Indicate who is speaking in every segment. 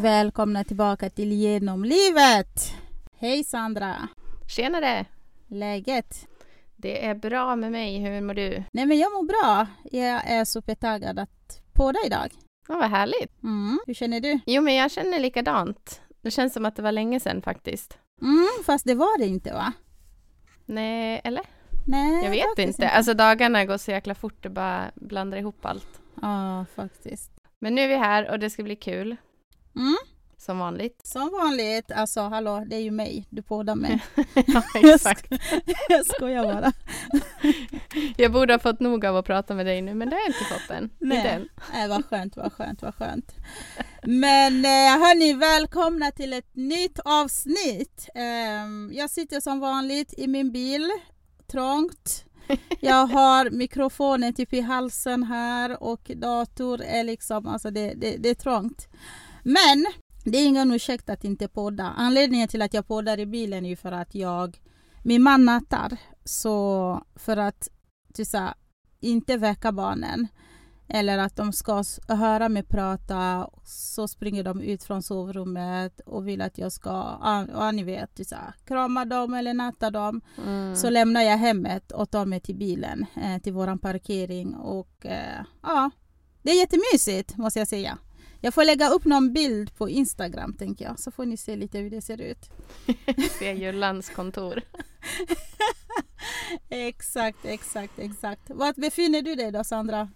Speaker 1: välkomna tillbaka till Genom livet! Hej Sandra!
Speaker 2: Tjenare!
Speaker 1: Läget?
Speaker 2: Det är bra med mig. Hur mår du?
Speaker 1: Nej men jag mår bra. Jag är supertaggad att podda idag.
Speaker 2: Ja, vad härligt.
Speaker 1: Mm. Hur känner du?
Speaker 2: Jo, men jag känner likadant. Det känns som att det var länge sedan faktiskt.
Speaker 1: Mm, fast det var det inte va?
Speaker 2: Nej, eller?
Speaker 1: Nej,
Speaker 2: Jag vet
Speaker 1: faktiskt
Speaker 2: inte. Alltså dagarna går så jäkla fort. Det bara blandar ihop allt.
Speaker 1: Ja, faktiskt.
Speaker 2: Men nu är vi här och det ska bli kul.
Speaker 1: Mm.
Speaker 2: Som vanligt.
Speaker 1: Som vanligt, alltså hallå, det är ju mig du poddar med.
Speaker 2: ja,
Speaker 1: jag skojar bara.
Speaker 2: Jag borde ha fått nog av att prata med dig nu, men det har jag inte fått än.
Speaker 1: Nej.
Speaker 2: Inte än.
Speaker 1: Nej, vad skönt, vad skönt, vad skönt. Men eh, hörni, välkomna till ett nytt avsnitt. Ehm, jag sitter som vanligt i min bil, trångt. Jag har mikrofonen typ i halsen här och dator är liksom, alltså det, det, det är trångt. Men det är ingen ursäkt att inte podda. Anledningen till att jag poddar i bilen är ju för att jag, min man nattar. Så för att, du sa, inte väcka barnen. Eller att de ska s- höra mig prata så springer de ut från sovrummet och vill att jag ska, ja, ja ni vet, du sa, krama dem eller natta dem.
Speaker 2: Mm.
Speaker 1: Så lämnar jag hemmet och tar mig till bilen, eh, till våran parkering och eh, ja, det är jättemysigt måste jag säga. Jag får lägga upp någon bild på Instagram tänker jag, så får ni se lite hur det ser ut.
Speaker 2: ser Jullans kontor.
Speaker 1: Exakt, exakt, exakt. Var befinner du dig då Sandra?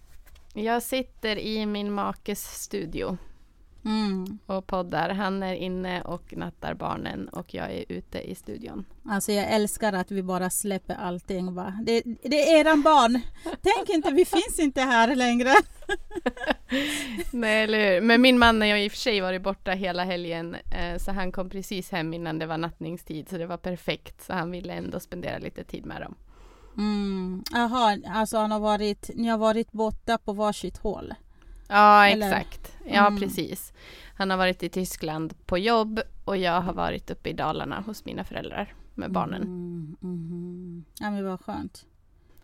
Speaker 2: Jag sitter i min makes studio
Speaker 1: Mm.
Speaker 2: och poddar. Han är inne och nattar barnen och jag är ute i studion.
Speaker 1: Alltså jag älskar att vi bara släpper allting va. Det, det är eran barn. Tänk inte, vi finns inte här längre.
Speaker 2: Nej, eller hur? Men min man har ju i och för sig varit borta hela helgen, eh, så han kom precis hem innan det var nattningstid, så det var perfekt. Så han ville ändå spendera lite tid med dem.
Speaker 1: Mm. Aha, alltså han har varit, ni har varit borta på varsitt håll.
Speaker 2: Ja,
Speaker 1: Eller?
Speaker 2: exakt. Ja,
Speaker 1: Mm.
Speaker 2: precis. Han har varit i Tyskland på jobb och jag har varit uppe i Dalarna hos mina föräldrar med barnen.
Speaker 1: Mm, mhm. Ja men vad skönt.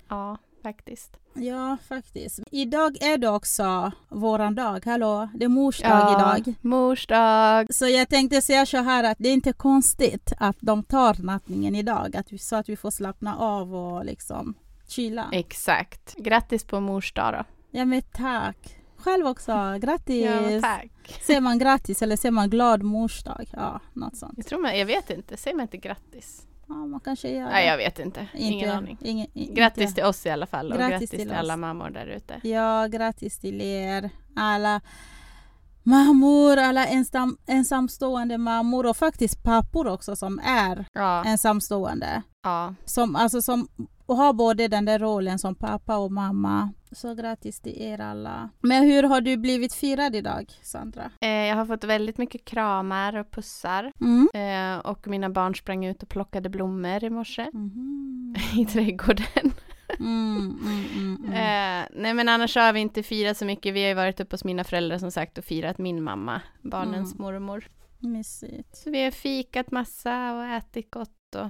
Speaker 2: Ja, faktiskt.
Speaker 1: Ja faktiskt. Idag är det också våran dag, hallå, det är mors dag
Speaker 2: ja,
Speaker 1: idag.
Speaker 2: Mors dag.
Speaker 1: Så jag tänkte säga så här att det är inte konstigt att de tar nattningen idag, att vi, så att vi får slappna av och liksom chilla.
Speaker 2: Exakt. Grattis på mors dag då.
Speaker 1: Ja men tack! Själv också, grattis!
Speaker 2: Ja, tack.
Speaker 1: Säger man grattis eller säger man glad mors dag? Ja, något sånt.
Speaker 2: Jag tror man, jag vet inte, säger man inte grattis?
Speaker 1: Ja, man kanske gör det.
Speaker 2: Nej, jag vet inte. Ingen
Speaker 1: Inte-
Speaker 2: aning.
Speaker 1: ingen- i-
Speaker 2: Grattis
Speaker 1: inte-
Speaker 2: till oss i alla fall och
Speaker 1: Grattis
Speaker 2: grattis,
Speaker 1: till
Speaker 2: till,
Speaker 1: oss.
Speaker 2: alla mammor där ute.
Speaker 1: Ja, grattis till er alla mammor, alla ensam, ensamstående mammor och faktiskt pappor också som är
Speaker 2: Ja,
Speaker 1: ensamstående.
Speaker 2: ja,
Speaker 1: Som, alltså, som och har både den där rollen som pappa och mamma. Så grattis till er alla. Men hur har du blivit firad idag, Sandra?
Speaker 2: Eh, jag har fått väldigt mycket kramar och pussar.
Speaker 1: Mm.
Speaker 2: Eh, och mina barn sprang ut och plockade blommor i morse
Speaker 1: Mhm.
Speaker 2: i trädgården.
Speaker 1: Mm, mm, mm, mm.
Speaker 2: Eh, nej men annars har vi inte firat så mycket. Vi har ju varit uppe hos mina föräldrar som sagt och firat min mamma, barnens
Speaker 1: Mm.
Speaker 2: mormor.
Speaker 1: Mysigt.
Speaker 2: Så vi har fikat massa och ätit gott och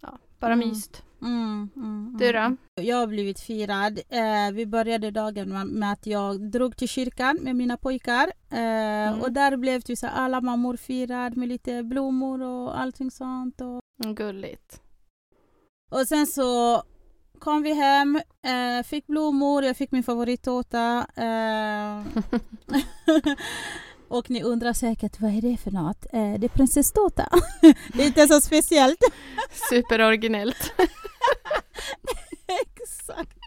Speaker 2: ja, bara
Speaker 1: Mm.
Speaker 2: myst.
Speaker 1: Mm, mm, mm.
Speaker 2: Du då?
Speaker 1: Jag har blivit firad. Eh, vi började dagen med- med att jag drog till kyrkan med mina pojkar. Eh, Och där blev typ så här alla mammor firad med lite blommor och allting sånt. Och,
Speaker 2: Mm, Gulligt.
Speaker 1: och sen så kom vi hem, eh, fick blommor, jag fick min favorittårta. Eh, och ni undrar säkert, vad är det för något? Eh, det är prinsesstårta. det är inte så speciellt.
Speaker 2: Superoriginellt.
Speaker 1: Exakt,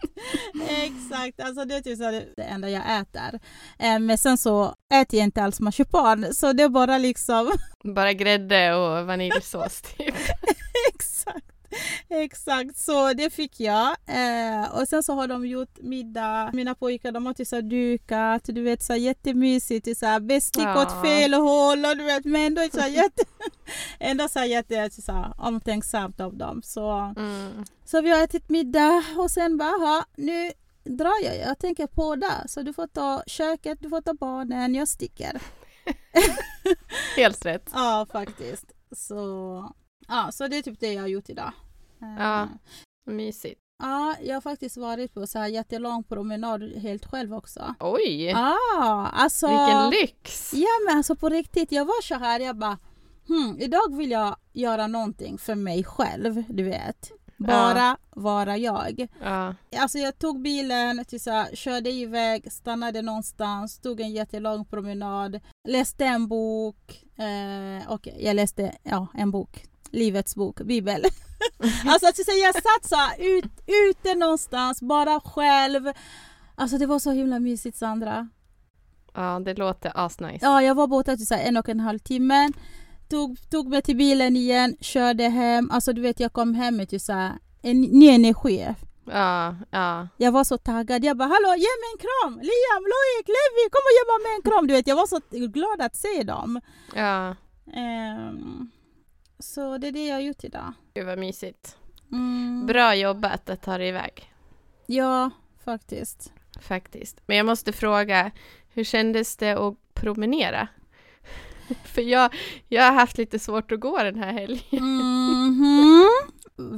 Speaker 1: exakt. Alltså det är typ så här det enda jag äter. Eh, Men sen så äter jag inte alls marsipan, så det är bara liksom
Speaker 2: Bara grädde och vaniljsås typ.
Speaker 1: exakt. Exakt, så det fick jag. Eh, och sen så har de gjort middag. Mina pojkar de har typ så här dukat, du vet så här jättemysigt, typ så här bestick åt
Speaker 2: Ja.
Speaker 1: fel håll och du vet, men ändå så här jätte, ändå så här jätte, så här, omtänksamt av dem. Så
Speaker 2: Mm.
Speaker 1: Så vi har ätit middag och sen bara, aha, nu drar jag, jag tänker podda. Så du får ta köket, du får ta barnen, jag sticker.
Speaker 2: Helt rätt.
Speaker 1: Ja, faktiskt. Så, ja, så det är typ det jag har gjort idag. Eh,
Speaker 2: Ja. Mysigt.
Speaker 1: Ja, jag har faktiskt varit på så här jättelång promenad helt själv också.
Speaker 2: Oj!
Speaker 1: Ja, alltså.
Speaker 2: Vilken lyx!
Speaker 1: Ja men alltså på riktigt, jag var så här, jag bara hmm, idag vill jag göra någonting för mig själv, du vet. Bara vara jag.
Speaker 2: Ja.
Speaker 1: Alltså jag tog bilen, till så här, körde iväg, stannade någonstans, tog en jättelång promenad, läste en bok. Eh, och jag läste ja, en bok, Livets bok, Bibeln. alltså att säga, jag satt så här, ut, ute någonstans, bara själv. Alltså det var så himla mysigt Sandra.
Speaker 2: ja, det låter asnice.
Speaker 1: Ja, jag var borta till så här en och en halv timme. Tog, tog mig till bilen igen, körde hem. Alltså du vet, jag kom hem med typ så här, en ny energi.
Speaker 2: Ja, ja.
Speaker 1: Jag var så taggad. Jag bara ”Hallå, ge mig en kram! Liam, Loik, Levi, kom och ge mig en kram!” Du vet, jag var så glad att se dem.
Speaker 2: ja.
Speaker 1: Ehm, så det är det jag har gjort idag.
Speaker 2: Gud vad mysigt.
Speaker 1: Mm,
Speaker 2: Bra jobbat att ta dig iväg,
Speaker 1: ja, faktiskt.
Speaker 2: faktiskt. Men jag måste fråga, hur kändes det att promenera? För jag, jag har haft lite svårt att gå den här helgen.
Speaker 1: Mhm.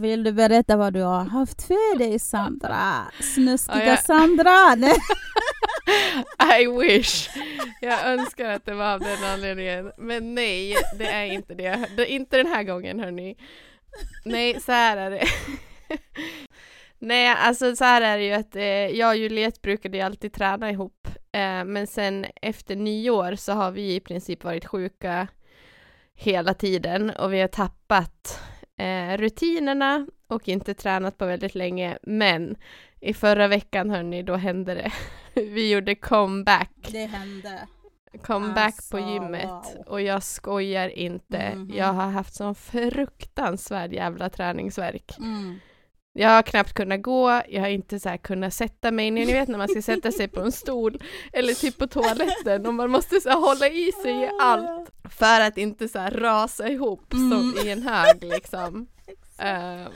Speaker 1: Vill du berätta vad du har haft för dig Sandra? Snuskiga
Speaker 2: Ja, jag-
Speaker 1: Sandra! Nej.
Speaker 2: I wish! Jag önskar att det var av den anledningen. Men nej, det är inte det. det är inte den här gången hörni. Nej, så här är det. Nej, alltså så här är det ju att eh, jag och Juliet brukade ju alltid träna ihop. Eh, men sen efter nyår så har vi i princip varit sjuka hela tiden och vi har tappat eh, rutinerna och inte tränat på väldigt länge. Men i förra veckan hörni, då hände det. Vi gjorde comeback.
Speaker 1: Det hände.
Speaker 2: Comeback på
Speaker 1: Alltså,
Speaker 2: gymmet
Speaker 1: wow.
Speaker 2: och jag skojar inte.
Speaker 1: Mhm.
Speaker 2: Jag har haft sån fruktansvärd jävla träningsvärk.
Speaker 1: Mm.
Speaker 2: Jag har knappt kunnat gå, jag har inte så här kunnat sätta mig ner. Ni vet när man ska sätta sig på en stol eller typ på toaletten och man måste så här hålla i sig i allt för att inte så här rasa ihop som
Speaker 1: Mm.
Speaker 2: i en hög liksom. Ehm,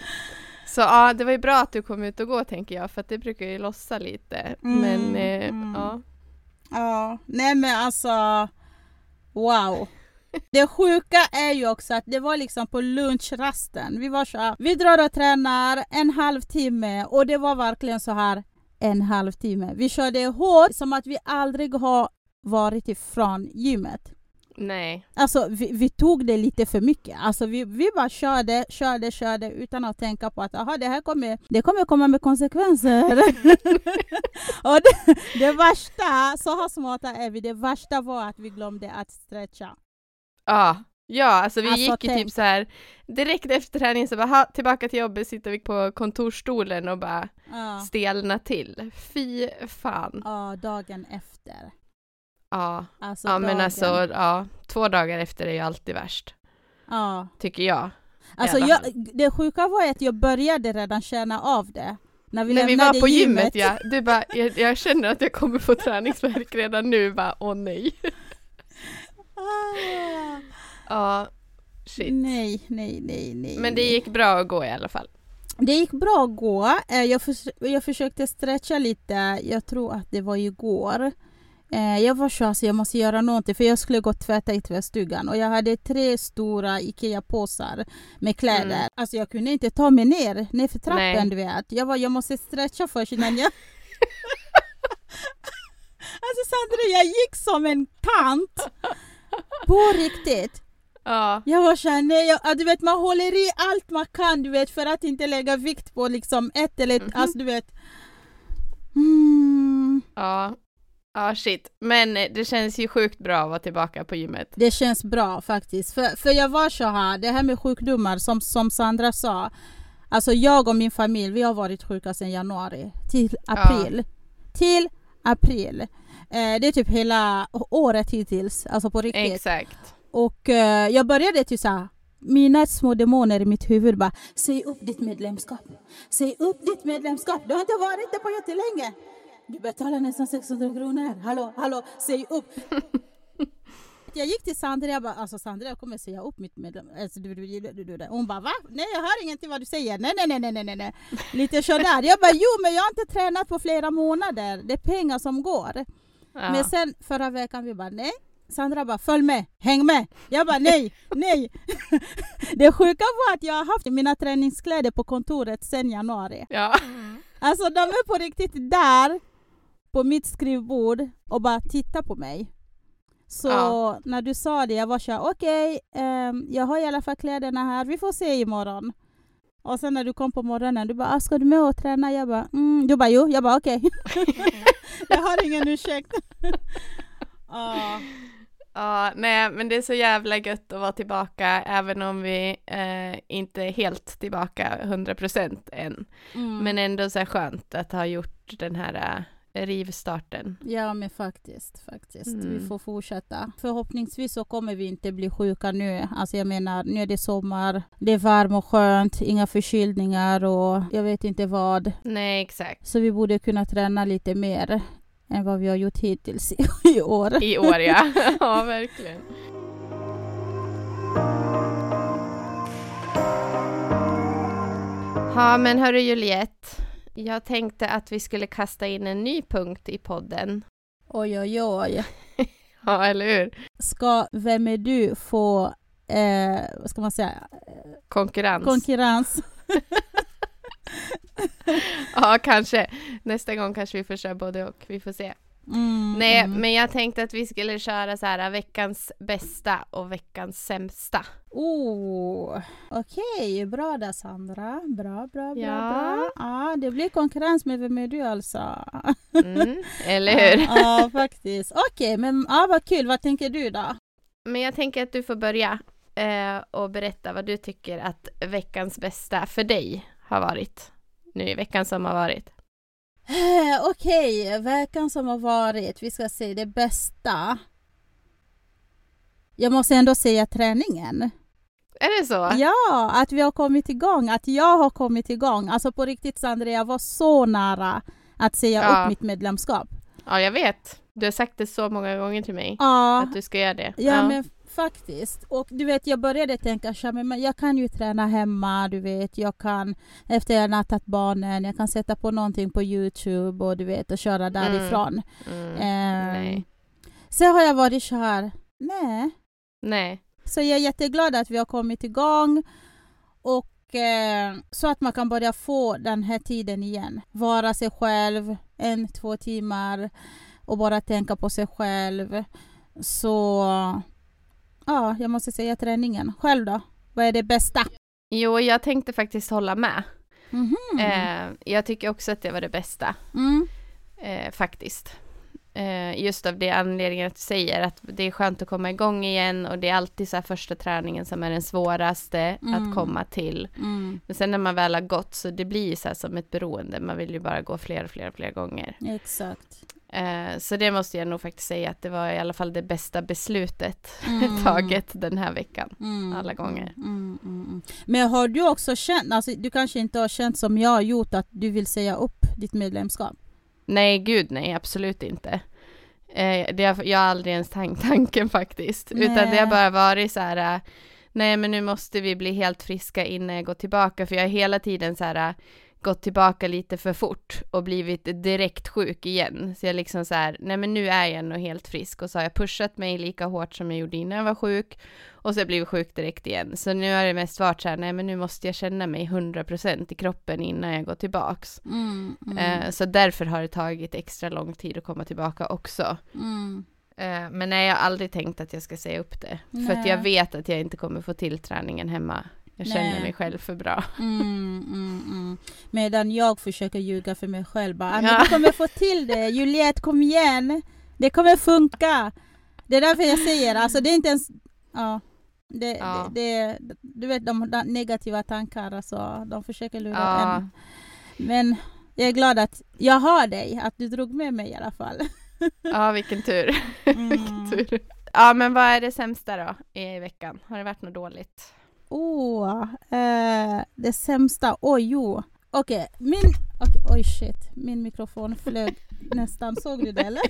Speaker 2: så ja, det var ju bra att du kom ut och gå tänker jag för att det brukar ju lossa lite.
Speaker 1: Mm,
Speaker 2: Men eh,
Speaker 1: mm.
Speaker 2: ja.
Speaker 1: Ja, nej men alltså wow. Det sjuka är ju också att det var liksom på lunchrasten. Vi var så här, vi drar och tränar en halvtimme och det var verkligen så här en halvtimme. Vi körde hårt som att vi aldrig har varit ifrån gymmet.
Speaker 2: Nej.
Speaker 1: Alltså vi, vi tog det lite för mycket. Alltså vi, vi bara körde, körde, körde utan att tänka på att aha, det här kommer, det kommer komma med konsekvenser. och det, det värsta, så här smarta är vi, det värsta var att vi glömde att stretcha.
Speaker 2: Ja, ja alltså vi
Speaker 1: Alltså,
Speaker 2: gick ju
Speaker 1: tänk.
Speaker 2: typ så här direkt efter träningen så bara "Ha, tillbaka till jobbet sitter vi på kontorsstolen och bara
Speaker 1: Ja,
Speaker 2: stelna till. Fy fan.
Speaker 1: ja dagen efter.
Speaker 2: Ja,
Speaker 1: Alltså,
Speaker 2: ja men
Speaker 1: dagen-
Speaker 2: alltså ja, två dagar efter är ju alltid värst,
Speaker 1: Ja.
Speaker 2: tycker jag.
Speaker 1: Alltså,
Speaker 2: alla
Speaker 1: jag,
Speaker 2: fall.
Speaker 1: det sjuka var att jag började redan känna av det. När vi
Speaker 2: När vi
Speaker 1: lämnade
Speaker 2: var på gymmet, ja, du bara, jag, jag känner att jag kommer få träningsvärk redan nu, bara åh nej.
Speaker 1: Ah,
Speaker 2: Ja, shit.
Speaker 1: nej, nej, nej, nej.
Speaker 2: Men det
Speaker 1: nej.
Speaker 2: gick bra att gå i alla fall.
Speaker 1: Det gick bra att gå. Eh, Jag, förs- jag försökte stretcha lite. Jag tror att det var igår. Eh, Jag var så här, så jag måste göra någonting för jag skulle gå och tvätta i tvättstugan och jag hade tre stora IKEA-påsar med kläder.
Speaker 2: Mm.
Speaker 1: Alltså jag kunde inte ta mig ner, ner för trappen
Speaker 2: Nej.
Speaker 1: du vet. Jag var, jag måste stretcha först innan jag... alltså Sandra, jag gick som en tant! På riktigt.
Speaker 2: Ja,
Speaker 1: Jag var såhär, nej, jag, ja, du vet man håller i allt man kan du vet för att inte lägga vikt på liksom ett eller ett,
Speaker 2: Mhm.
Speaker 1: alltså du vet. Mm,
Speaker 2: ja, ja shit. Men eh, det känns ju sjukt bra att vara tillbaka på gymmet.
Speaker 1: det känns bra faktiskt. För, för jag var så här, det här med sjukdomar som, som Sandra sa. Alltså jag och min familj, vi har varit sjuka sedan januari till april. Till april. Eh, det är typ hela å- året hittills, alltså på riktigt.
Speaker 2: Exakt.
Speaker 1: Och eh, jag började till så här, mina små demoner i mitt huvud bara, säg upp ditt medlemskap. Säg upp ditt medlemskap, du har inte varit det på jättelänge. Du betalar nästan 600 kronor, hallå, hallå, säg upp. Jag gick till Sandra jag bara, alltså Sandra jag kommer säga upp mitt medlem. Alltså, du, du, du, du, du, du. Hon bara va? Nej jag hör ingenting vad du säger. Nej nej nej nej nej nej, nej. Lite sådär. Jag bara jo men jag har inte tränat på flera månader. Det är pengar som går.
Speaker 2: Ja.
Speaker 1: Men sen förra veckan vi bara nej, Sandra bara följ med, häng med. Jag bara nej, nej. det sjuka var att jag har haft mina träningskläder på kontoret sedan januari.
Speaker 2: Ja.
Speaker 1: Alltså de är på riktigt där på mitt skrivbord och bara tittar på mig. Så
Speaker 2: Ja.
Speaker 1: när du sa det, jag var såhär okej, ehm, jag har i alla fall kläderna här, vi får se imorgon. Och sen när du kom på morgonen, du bara ah, “ska du med och träna?” Jag bara mm. Du bara “jo”, jag bara okej. jag har ingen ursäkt. Ja.
Speaker 2: Ja, nej men det är så jävla gött att vara tillbaka även om vi eh, inte är helt tillbaka 100% än.
Speaker 1: mm.
Speaker 2: Men ändå så här skönt att ha gjort den här eh, rivstarten.
Speaker 1: Ja men faktiskt, faktiskt. Vi
Speaker 2: Mm.
Speaker 1: får fortsätta. Förhoppningsvis så kommer vi inte bli sjuka nu. Alltså jag menar, nu är det sommar, det är varmt och skönt, inga förkylningar och jag vet inte vad.
Speaker 2: Nej exakt.
Speaker 1: Så vi borde kunna träna lite mer än vad vi har gjort hittills i år.
Speaker 2: I år ja. ja verkligen. Ja men hörru Juliette. Jag tänkte att vi skulle kasta in en ny punkt i podden.
Speaker 1: Oj, oj, oj.
Speaker 2: Ja eller hur?
Speaker 1: Ska Vem är du få, eh, vad ska man säga,
Speaker 2: Konkurrens.
Speaker 1: konkurrens?
Speaker 2: ja kanske. Nästa gång kanske vi får köra både och. Vi får se.
Speaker 1: Mm,
Speaker 2: Nej
Speaker 1: mm.
Speaker 2: men jag tänkte att vi skulle köra så här veckans bästa och veckans sämsta.
Speaker 1: Oh, Okej, bra där Sandra. Bra, bra, bra.
Speaker 2: Ja.
Speaker 1: bra. Ja, det blir konkurrens med Vem är du alltså?
Speaker 2: Mm, eller hur?
Speaker 1: Ja, faktiskt. Okej, men ja, vad kul. Vad tänker du då?
Speaker 2: Men jag tänker att du får börja eh, och berätta vad du tycker att veckans bästa för dig har varit. Nu i veckan som har varit.
Speaker 1: Eh, Okej, veckan som har varit. Vi ska se det bästa. Jag måste ändå säga träningen.
Speaker 2: Är det så?
Speaker 1: Ja, att vi har kommit igång, att jag har kommit igång. Alltså på riktigt Sandra, jag var så nära att säga
Speaker 2: Ja.
Speaker 1: upp mitt medlemskap.
Speaker 2: Ja, jag vet. Du har sagt det så många gånger till mig.
Speaker 1: Ja,
Speaker 2: Att du ska göra det.
Speaker 1: Ja, men faktiskt. Och du vet, jag började tänka så här, men jag kan ju träna hemma, du vet. Jag kan, efter jag nattat barnen, jag kan sätta på någonting på Youtube och du vet, och köra därifrån.
Speaker 2: Mm.
Speaker 1: Ehm,
Speaker 2: Nej.
Speaker 1: Sen har jag varit så här, nej.
Speaker 2: Nej.
Speaker 1: Så jag är jätteglad att vi har kommit igång. Och eh, så att man kan börja få den här tiden igen. Vara sig själv en, två timmar och bara tänka på sig själv. Så ja, jag måste säga träningen. Själv då? Vad är det bästa?
Speaker 2: Jo, jag tänkte faktiskt hålla med.
Speaker 1: Mhm.
Speaker 2: Eh, jag tycker också att det var det bästa.
Speaker 1: Mm.
Speaker 2: eh, faktiskt. Eh, just av det anledningen att du säger att det är skönt att komma igång igen och det är alltid så här första träningen som är den svåraste
Speaker 1: Mm.
Speaker 2: att komma till.
Speaker 1: Mm.
Speaker 2: Men sen när man väl har gått så det blir ju så här som ett beroende, man vill ju bara gå fler och fler och fler gånger.
Speaker 1: Exakt.
Speaker 2: Eh, så det måste jag nog faktiskt säga att det var i alla fall det bästa beslutet
Speaker 1: Mm.
Speaker 2: taget den här veckan.
Speaker 1: Mm,
Speaker 2: Alla gånger.
Speaker 1: Mm, mm, mm. Men har du också känt, alltså, du kanske inte har känt som jag har gjort att du vill säga upp ditt medlemskap?
Speaker 2: Nej, gud nej, absolut inte. Eh, det har, jag har aldrig ens tänkt tanken faktiskt. Utan det
Speaker 1: Nej.
Speaker 2: har bara varit så här, eh, nej men nu måste vi bli helt friska innan jag går tillbaka. För jag har hela tiden så här, eh, gått tillbaka lite för fort och blivit direkt sjuk igen. Så jag liksom så här, nej men nu är jag nog helt frisk. Och så har jag pushat mig lika hårt som jag gjorde innan jag var sjuk. Och så har jag blivit sjuk direkt igen. Så nu har det mest varit så här, nej men nu måste jag känna mig 100% i kroppen innan jag går tillbaks.
Speaker 1: Mm, mm,
Speaker 2: Eh, Så därför har det tagit extra lång tid att komma tillbaka också.
Speaker 1: mm.
Speaker 2: Eh, Men nej, jag har aldrig tänkt att jag ska säga upp det. För att
Speaker 1: Nej.
Speaker 2: jag vet att jag inte kommer få till träningen hemma. Jag
Speaker 1: Nej.
Speaker 2: känner mig själv för bra.
Speaker 1: Mm, mm, mm. Medan jag försöker ljuga för mig själv. Bara, "Ah,
Speaker 2: Ja.
Speaker 1: men du kommer få till det, Juliet kom igen. Det kommer funka. Det är därför jag säger, alltså det är inte ens... Ja. Det,
Speaker 2: Ja.
Speaker 1: Det, det, du vet de där negativa tankarna, alltså, de försöker lura en.
Speaker 2: Ja,
Speaker 1: Men jag är glad att jag har dig, att du drog med mig i alla fall.
Speaker 2: ja vilken tur.
Speaker 1: Mm.
Speaker 2: tur. Ja, men vad är det sämsta då i veckan? Har det varit något dåligt?
Speaker 1: Åh, eh, det sämsta. Oj, jo. Okej, min... okej, oj, shit. Min mikrofon flög nästan. Såg du det eller?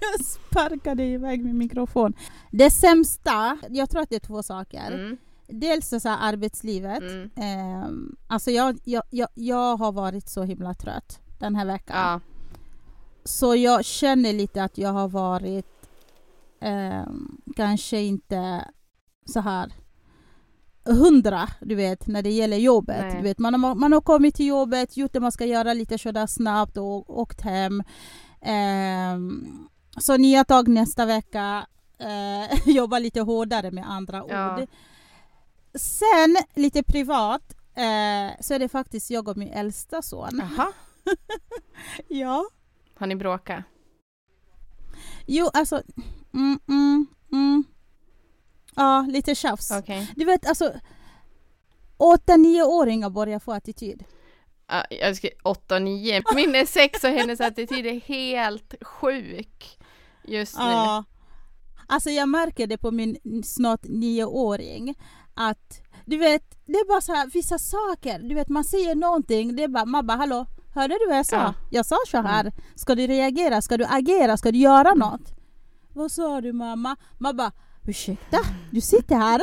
Speaker 1: Jag sparkade iväg min mikrofon. Det sämsta, jag tror att det är två saker.
Speaker 2: Mm.
Speaker 1: Dels så här arbetslivet.
Speaker 2: Mm.
Speaker 1: Ehm, alltså jag, jag, jag, jag har varit så himla trött den här veckan.
Speaker 2: Ja.
Speaker 1: Så jag känner lite att jag har varit ehm, kanske inte så här hundra, du vet, när det gäller jobbet.
Speaker 2: Nej.
Speaker 1: Du vet, man, har, man har kommit till jobbet, gjort det man ska göra lite sådär snabbt och åkt hem. Ehm, så nya tag nästa vecka, eh, jobba lite hårdare med andra
Speaker 2: Ja.
Speaker 1: ord. Sen lite privat, eh, så är det faktiskt jag och min äldsta son.
Speaker 2: Jaha.
Speaker 1: Ja.
Speaker 2: Har ni bråkat?
Speaker 1: Jo, alltså... Mm, mm, mm. Ja, lite tjafs.
Speaker 2: Okej.
Speaker 1: Du vet, alltså... Åtta, nioåringar börjar få attityd.
Speaker 2: Ja, jag ska, 8 och 9. Min är 6 och hennes attityd är helt sjuk just nu.
Speaker 1: Ja. Alltså jag märker det på min snart nioåring att du vet, det är bara så här vissa saker, du vet man säger någonting, det är bara man bara hallå, hörde du vad jag sa?
Speaker 2: Ja. Mm.
Speaker 1: Jag sa så här, ska du reagera, ska du agera, ska du göra något? Vad sa du mamma? Man bara ursäkta, du sitter här.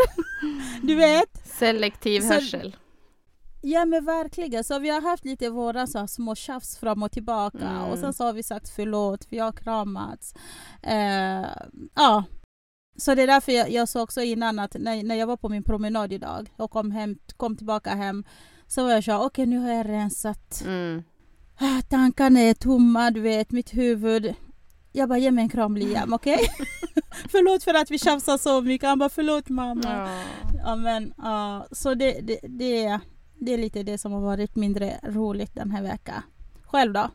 Speaker 1: du vet,
Speaker 2: Selektiv
Speaker 1: Så-
Speaker 2: hörsel.
Speaker 1: Ja men verkligen, så vi har haft lite våra så här, små tjafs fram och tillbaka
Speaker 2: Mm.
Speaker 1: och sen så har vi sagt förlåt, vi har kramats. Eh, ja. Så det är därför jag, jag sa också innan att när, när jag var på min promenad idag och kom, hem, kom tillbaka hem så var jag så här, okej nu har jag rensat.
Speaker 2: Mm.
Speaker 1: Ah, tankarna är tomma, du vet, mitt huvud. Jag bara, ge mig en kram Liam, okej? förlåt för att vi tjafsar så mycket. Han bara, förlåt mamma.
Speaker 2: Ja.
Speaker 1: Ja men ja, så det, det, det, det är lite det som har varit mindre roligt den här veckan. Själv då?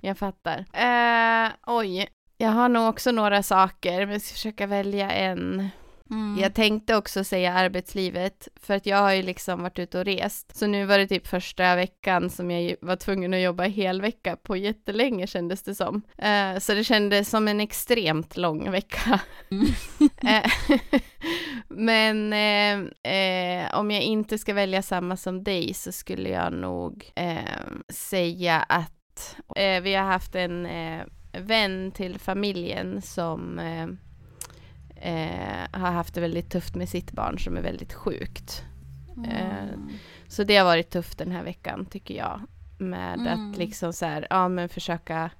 Speaker 2: Jag fattar. Eh, oj. Jag har nog också några saker, men jag ska försöka välja en.
Speaker 1: Mm.
Speaker 2: Jag tänkte också säga arbetslivet, för att jag har ju liksom varit ute och rest. Så nu var det typ första veckan som jag var tvungen att jobba helvecka på jättelänge kändes det som. Eh, så det kändes som en extremt lång vecka.
Speaker 1: Mm.
Speaker 2: Eh, Men eh, eh, om jag inte ska välja samma som dig så skulle jag nog eh, säga att eh, vi har haft en eh, vän till familjen som eh, eh, har haft det väldigt tufft med sitt barn som är väldigt sjukt. eh,
Speaker 1: Mm.
Speaker 2: Så det har varit tufft den här veckan tycker jag. Med
Speaker 1: Mm.
Speaker 2: att liksom så här, ja men försöka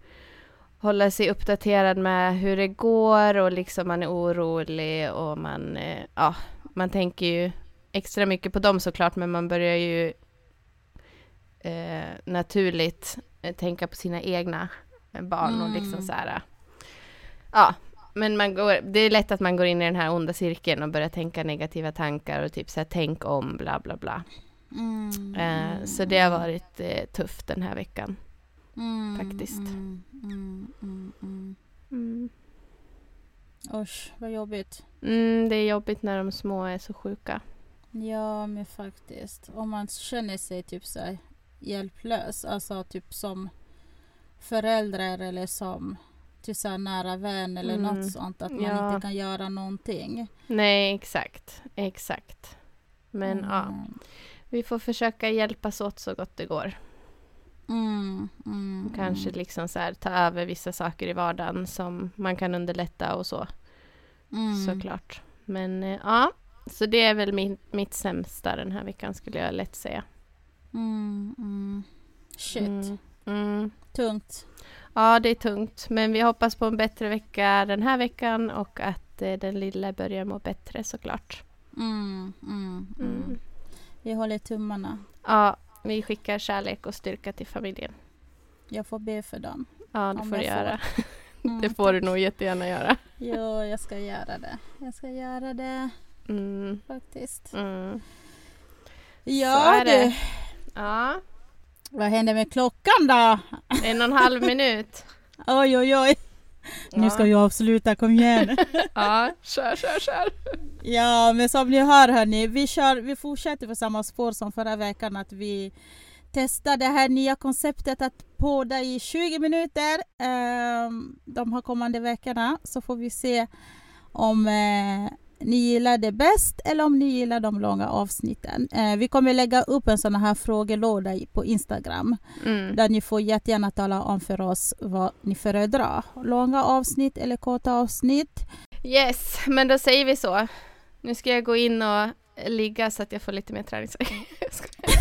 Speaker 2: hålla sig uppdaterad med hur det går och liksom man är orolig och man, eh, ja, man tänker ju extra mycket på dem såklart men man börjar ju eh, naturligt eh, tänka på sina egna eh, barn och liksom
Speaker 1: Mm.
Speaker 2: så här, eh, ja, men man går, det är lätt att man går in i den här onda cirkeln och börjar tänka negativa tankar och typ så här, tänk om, bla bla bla.
Speaker 1: Mm.
Speaker 2: Eh, Så det har varit eh, tufft den här veckan.
Speaker 1: Mm,
Speaker 2: faktiskt.
Speaker 1: Mm. Mm. Mm. Mm.
Speaker 2: Mm.
Speaker 1: Usch, vad jobbigt.
Speaker 2: Mm, det är jobbigt när de små är så sjuka.
Speaker 1: Ja men faktiskt. Om man känner sig typ så här hjälplös, alltså typ som förälder eller som till så här nära vän eller
Speaker 2: Mm.
Speaker 1: något sånt. Att man
Speaker 2: Ja.
Speaker 1: inte kan göra någonting.
Speaker 2: Nej, exakt. Exakt. Men ja,
Speaker 1: Mm.
Speaker 2: vi får försöka hjälpas åt så gott det går.
Speaker 1: Mm, mm,
Speaker 2: Kanske liksom så här, ta över vissa saker i vardagen som man kan underlätta och så,
Speaker 1: mm.
Speaker 2: såklart. Men eh, ja, så det är väl min, mitt sämsta den här veckan skulle jag lätt säga.
Speaker 1: Mm, mm. Shit,
Speaker 2: Mm. Mm.
Speaker 1: tungt.
Speaker 2: Ja, det är tungt. Men vi hoppas på en bättre vecka den här veckan och att eh, den lilla börjar må bättre såklart.
Speaker 1: Mm, mm, mm.
Speaker 2: Mm.
Speaker 1: Vi håller tummarna.
Speaker 2: Ja, vi skickar kärlek och styrka till familjen.
Speaker 1: Jag får be för dem.
Speaker 2: Ja, det
Speaker 1: Om
Speaker 2: får du
Speaker 1: jag får.
Speaker 2: göra.
Speaker 1: Mm,
Speaker 2: Det får du
Speaker 1: tack.
Speaker 2: nog jättegärna göra.
Speaker 1: Jo, jag ska göra det. Jag ska göra det
Speaker 2: Mm.
Speaker 1: faktiskt.
Speaker 2: Mm. Så
Speaker 1: Ja
Speaker 2: är
Speaker 1: du,
Speaker 2: det. Ja,
Speaker 1: vad händer med klockan då?
Speaker 2: en och en halv minut.
Speaker 1: Oj, oj, oj. Nu ska
Speaker 2: ja.
Speaker 1: jag avsluta, kom igen.
Speaker 2: ja, kör, kör, kör.
Speaker 1: Ja, men som ni hör hörni, vi, kör, vi fortsätter på samma spår som förra veckan att vi testar det här nya konceptet att podda i 20 minuter ehm, de här kommande veckorna så får vi se om eh, ni gillar det bäst eller om ni gillar de långa avsnitten. Eh, vi kommer lägga upp en sån här frågelåda i- på Instagram
Speaker 2: Mm.
Speaker 1: där ni får jättegärna tala om för oss vad ni föredrar. Långa avsnitt eller korta avsnitt.
Speaker 2: Yes, men då säger vi så. Nu ska jag gå in och ligga så att jag får lite mer träningsvärk. Jag skojar.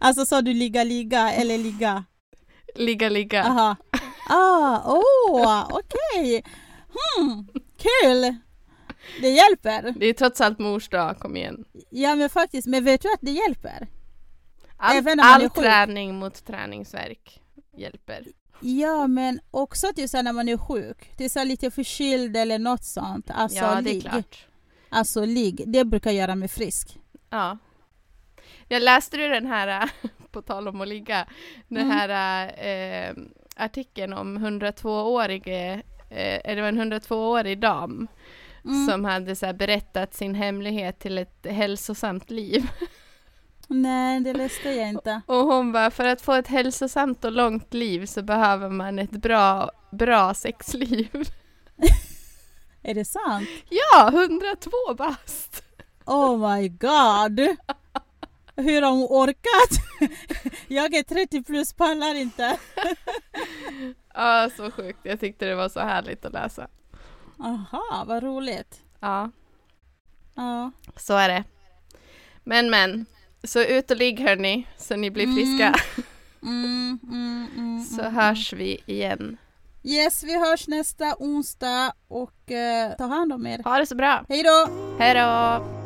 Speaker 1: Alltså sa du ligga, ligga eller ligga?
Speaker 2: Ligga, ligga.
Speaker 1: Aha. Ah, åh, okej. Hmm, kul! Det hjälper.
Speaker 2: Det är trots allt mors dag, kom igen.
Speaker 1: Ja men faktiskt, men vet du att det hjälper?
Speaker 2: All,
Speaker 1: Även om man är
Speaker 2: all
Speaker 1: sjuk.
Speaker 2: träning mot träningsverk hjälper.
Speaker 1: Ja men också till så här när man är sjuk, till så här lite förkyld eller något sånt. Alltså,
Speaker 2: ja, det är
Speaker 1: ligg.
Speaker 2: klart.
Speaker 1: Alltså ligg, det brukar göra mig frisk.
Speaker 2: Ja. Jag läste ju den här, äh, på tal om att ligga, den
Speaker 1: Mm.
Speaker 2: här äh, artikeln om 102-årige, eh, det var en 102-årig dam
Speaker 1: Mm.
Speaker 2: som hade så här berättat sin hemlighet till ett hälsosamt liv.
Speaker 1: Nej, det läste jag inte.
Speaker 2: Och hon bara, för att få ett hälsosamt och långt liv så behöver man ett bra, bra sexliv.
Speaker 1: Är det sant?
Speaker 2: Ja, 102 bast!
Speaker 1: Oh my god! Hur har hon orkat? Jag är 30 plus, pallar inte.
Speaker 2: Ja, så sjukt. Jag tyckte det var så härligt att läsa.
Speaker 1: Aha, vad roligt.
Speaker 2: Ja,
Speaker 1: Ja.
Speaker 2: så är det. Men men, så ut och ligg hörni, så ni blir friska.
Speaker 1: Mm, Mm, mm, mm,
Speaker 2: Så
Speaker 1: mm.
Speaker 2: hörs vi igen.
Speaker 1: Yes, vi hörs nästa onsdag och eh, ta hand om er.
Speaker 2: Ha det så bra!
Speaker 1: Hej då!
Speaker 2: Hej då!